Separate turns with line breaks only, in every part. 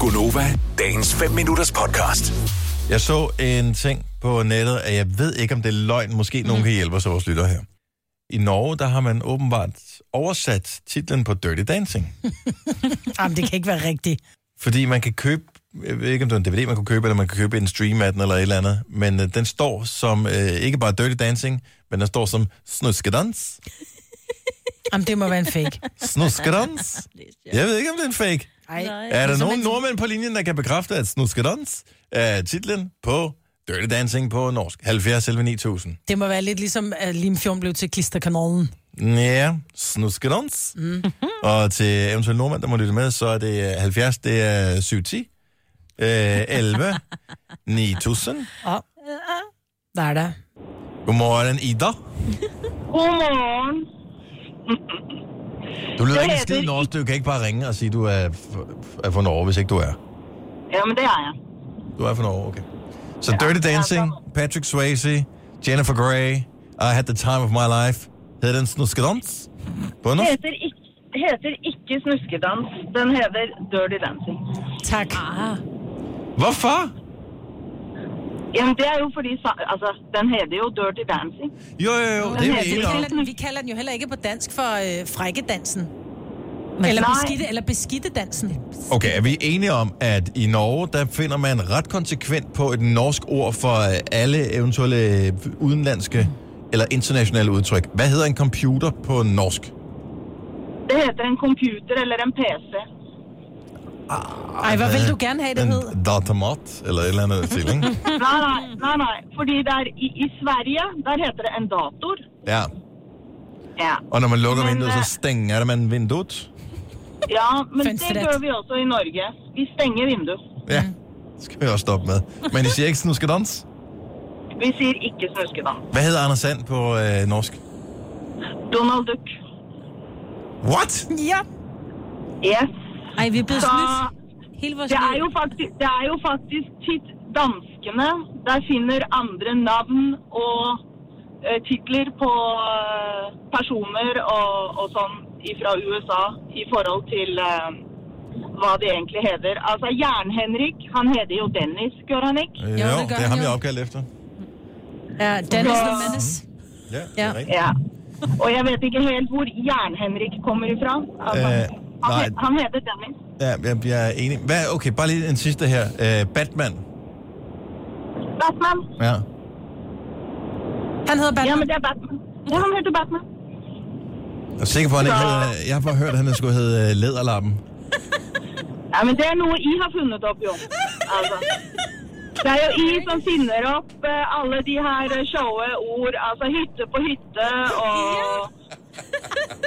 Gunova, dagens 5 minutters podcast.
Jeg så en ting på nettet, at jeg ved ikke, om det er løgn. Måske mm. nogen kan hjælpe os af vores lytter her. I Norge, der har man åbenbart oversat titlen på Dirty Dancing.
Jamen, det kan ikke være rigtigt.
Fordi man kan købe, jeg ved ikke om det er en DVD, man kan købe, eller man kan købe en stream af den, eller et eller andet. Men øh, den står som, øh, ikke bare Dirty Dancing, men den står som Snuskedans.
Jamen, det må være en fake.
Snuskedans? Jeg ved ikke, om det er en fake.
Ej.
Er der
Altså,
nogen
man-
nordmænd på linjen, der kan bekræfte, at Snuskedans er titlen på Dirty Dancing på norsk? 70 11 9000.
Det må være lidt ligesom, at Limfjorden blev til klisterkanalen.
Ja, snuskedons. Mm. Og til eventuelle nordmænd, der må lytte med, så er det øh, 70, det er 710, øh, 11, 9000.
Åh. Hvad er der?
Godmorgen, Ida.
Godmorgen.
Du lyder
Det
ikke
er
en skid
det.
norsk, du kan ikke bare ringe og sige, du er, f- er fra Norge, hvis ikke du er.
Jamen, det har jeg.
Du er fra Norge, okay. Så Dirty Dancing, Patrick Swayze, Jennifer Grey, I Had the Time of My Life. Hedder den snuskedons? På
Det
norsk?
heter ikke, heter ikke snuskedans. Den heter Dirty Dancing.
Tak.
Hvorfor?
Jamen, det er jo fordi, sa- altså, den heter jo Dirty Dancing.
Jo, jo, jo, det er vi
Vi
enige om.
kalder, den, vi kalder den jo heller ikke på dansk for øh, frækkedansen. Eller
Nej.
beskidte, eller beskidtedansen.
Okay, er vi enige om, at i Norge, der finder man ret konsekvent på et norsk ord for øh, alle eventuelle øh, udenlandske eller internationale udtryk. Hvad hedder en computer på norsk?
Det heter en computer eller en PC.
Ej, hvad vil du gerne have, det
Øh, En
hed?
datamat, eller et eller andet til, ikke?
Nei, nei, nei, nei. Fordi der i, i Sverige, der heter det en dator.
Ja,
Ja,
og når man lukker
Men,
vinduet, så
øh,
stænger man vinduet.
ja men
Fun
det
fact.
gjør vi også i Norge. Vi stenger vinduet.
Ja, det skal vi også stoppe med. Men I siger ikke snuskedans?
Vi sier ikke snuskedans.
Hvad hedder Anders Sand på øh, norsk?
Donald Duck.
What?
Ja.
Yes.
Ej, vi er blevet
Så
snydt. Hele vores
det er
liv.
jo faktisk, det er jo faktisk tit danskene der finner andre navn og eh, titler på eh, personer og, og sånn fra USA i forhold til eh, hva de egentlig heter. Altså Jern-Henrik, han heter jo Dennis, gjør han ikke?
Øh, Jo, det,
gør
er
han
ham,
jo.
jeg er opkaldt efter.
ja Dennis
Ja.
the Menace.
Ja, det
Ja.
er rigtigt.
Ja. Og jeg vet ikke helt hvor Jern-Henrik kommer ifra. Altså,
Øh,
han,
nei.
he, han heter Dennis.
Ja, jeg, jeg er enig. Hvad, okay, bare lige en sidste her. Øh, Batman.
Batman.
Ja.
Han hedder
Ja, men
Batman.
det er Batman. Ja, han heter Batman.
Jeg er sikker på, at han ikke havde, jeg har bare hørt, at han skulle hedde øh, Læderlappen.
Ja, men det er noe I har funnet opp, jo. Altså. Det er jo I som finner opp eh, alle de her sjåe ord. Altså hytte på hytte og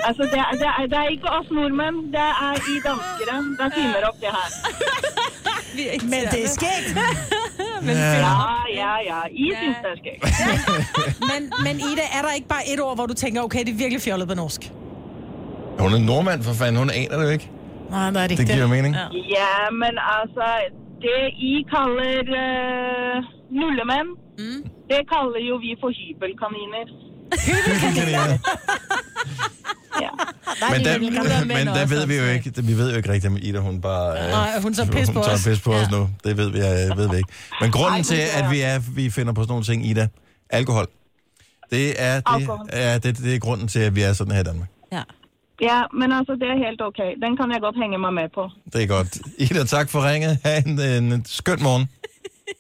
Altså, det er, det, er, det er ikke oss nordmenn, det er I danskere. De finner opp det her.
Men det er skægt.
Ja, ja, ja. I syns det er skøy.
Men, men Ida, er der ikke bare et ord, hvor du tænker, okay, det er virkelig fjollet på norsk?
Hun er nordmand, for fanden. Hun aner det jo ikke.
Nej, nej, det er
Det
ikke
giver
det.
mening.
Ja.
Ja, men altså Det I kaller eh, nullemenn, det kaller jo vi for hybelkaniner. Ja.
Men der,
gamle mænd
men der
også,
ved vi jo
altså.
ikke, vi ved jo ikke rigtigt, om Ida hun bare... øh,
Nej, hun tager pis på
hun tager
os.
pis på os nu. Det ved vi, øh, ved vi ikke. Men grunden
Ej,
til,
hun gør.
at vi, er, vi finder på sådan nogle ting, Ida, alkohol. Det er, det,
Alkohol.
ja, det, det er grunden til, at vi er sådan her i Danmark.
Ja.
Ja, men altså, det er helt ok. Den kan jeg godt henge mig med på.
Det er godt. Ida, tak for ringet. Ha' en, øh, en, en skøn morgen.